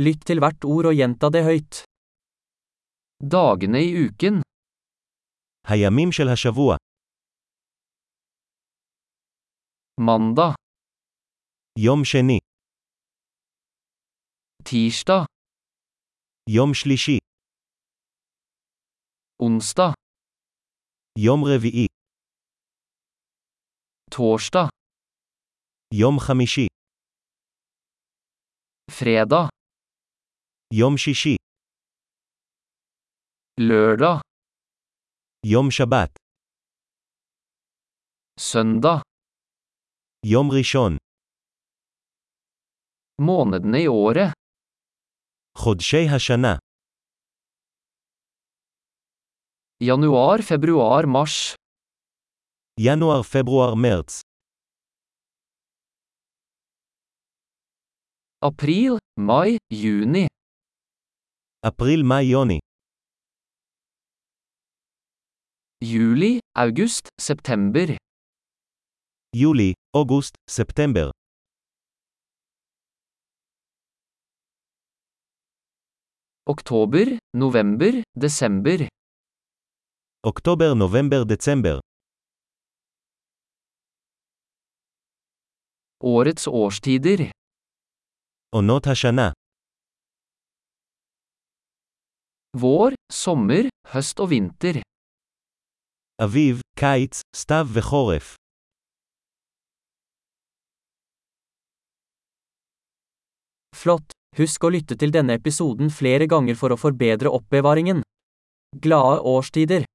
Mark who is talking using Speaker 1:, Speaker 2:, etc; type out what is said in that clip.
Speaker 1: Lytt til hvert ord og gjenta det høyt. Dagene i uken,
Speaker 2: הימים של השבוע,
Speaker 1: mandag,
Speaker 2: יום שני,
Speaker 1: tirsdag,
Speaker 2: יום שלישי,
Speaker 1: onsdag,
Speaker 2: יום רביעי,
Speaker 1: torsdag,
Speaker 2: יום חמישי,
Speaker 1: fredag,
Speaker 2: יום שישי,
Speaker 1: lørdag,
Speaker 2: יום שבת,
Speaker 1: søndag.
Speaker 2: יום ראשון,
Speaker 1: Månedene i året,
Speaker 2: חודשי השנה,
Speaker 1: januar, februar, mars.
Speaker 2: ינואר, פברואר, מרץ,
Speaker 1: April, mai, juni.
Speaker 2: אפריל, מאי, יוני,
Speaker 1: Juli, august, september.
Speaker 2: יולי, אוגוסט, ספטמבר,
Speaker 1: Oktober, november, desember.
Speaker 2: אוקטובר, נובמבר, דצמבר,
Speaker 1: Årets årstider.
Speaker 2: עונות השנה,
Speaker 1: Vår, sommer, høst og vinter.
Speaker 2: אביב, קיץ, סתיו וחורף,
Speaker 1: Flott! Husk å lytte til denne episoden flere ganger for å forbedre oppbevaringen. Glade årstider!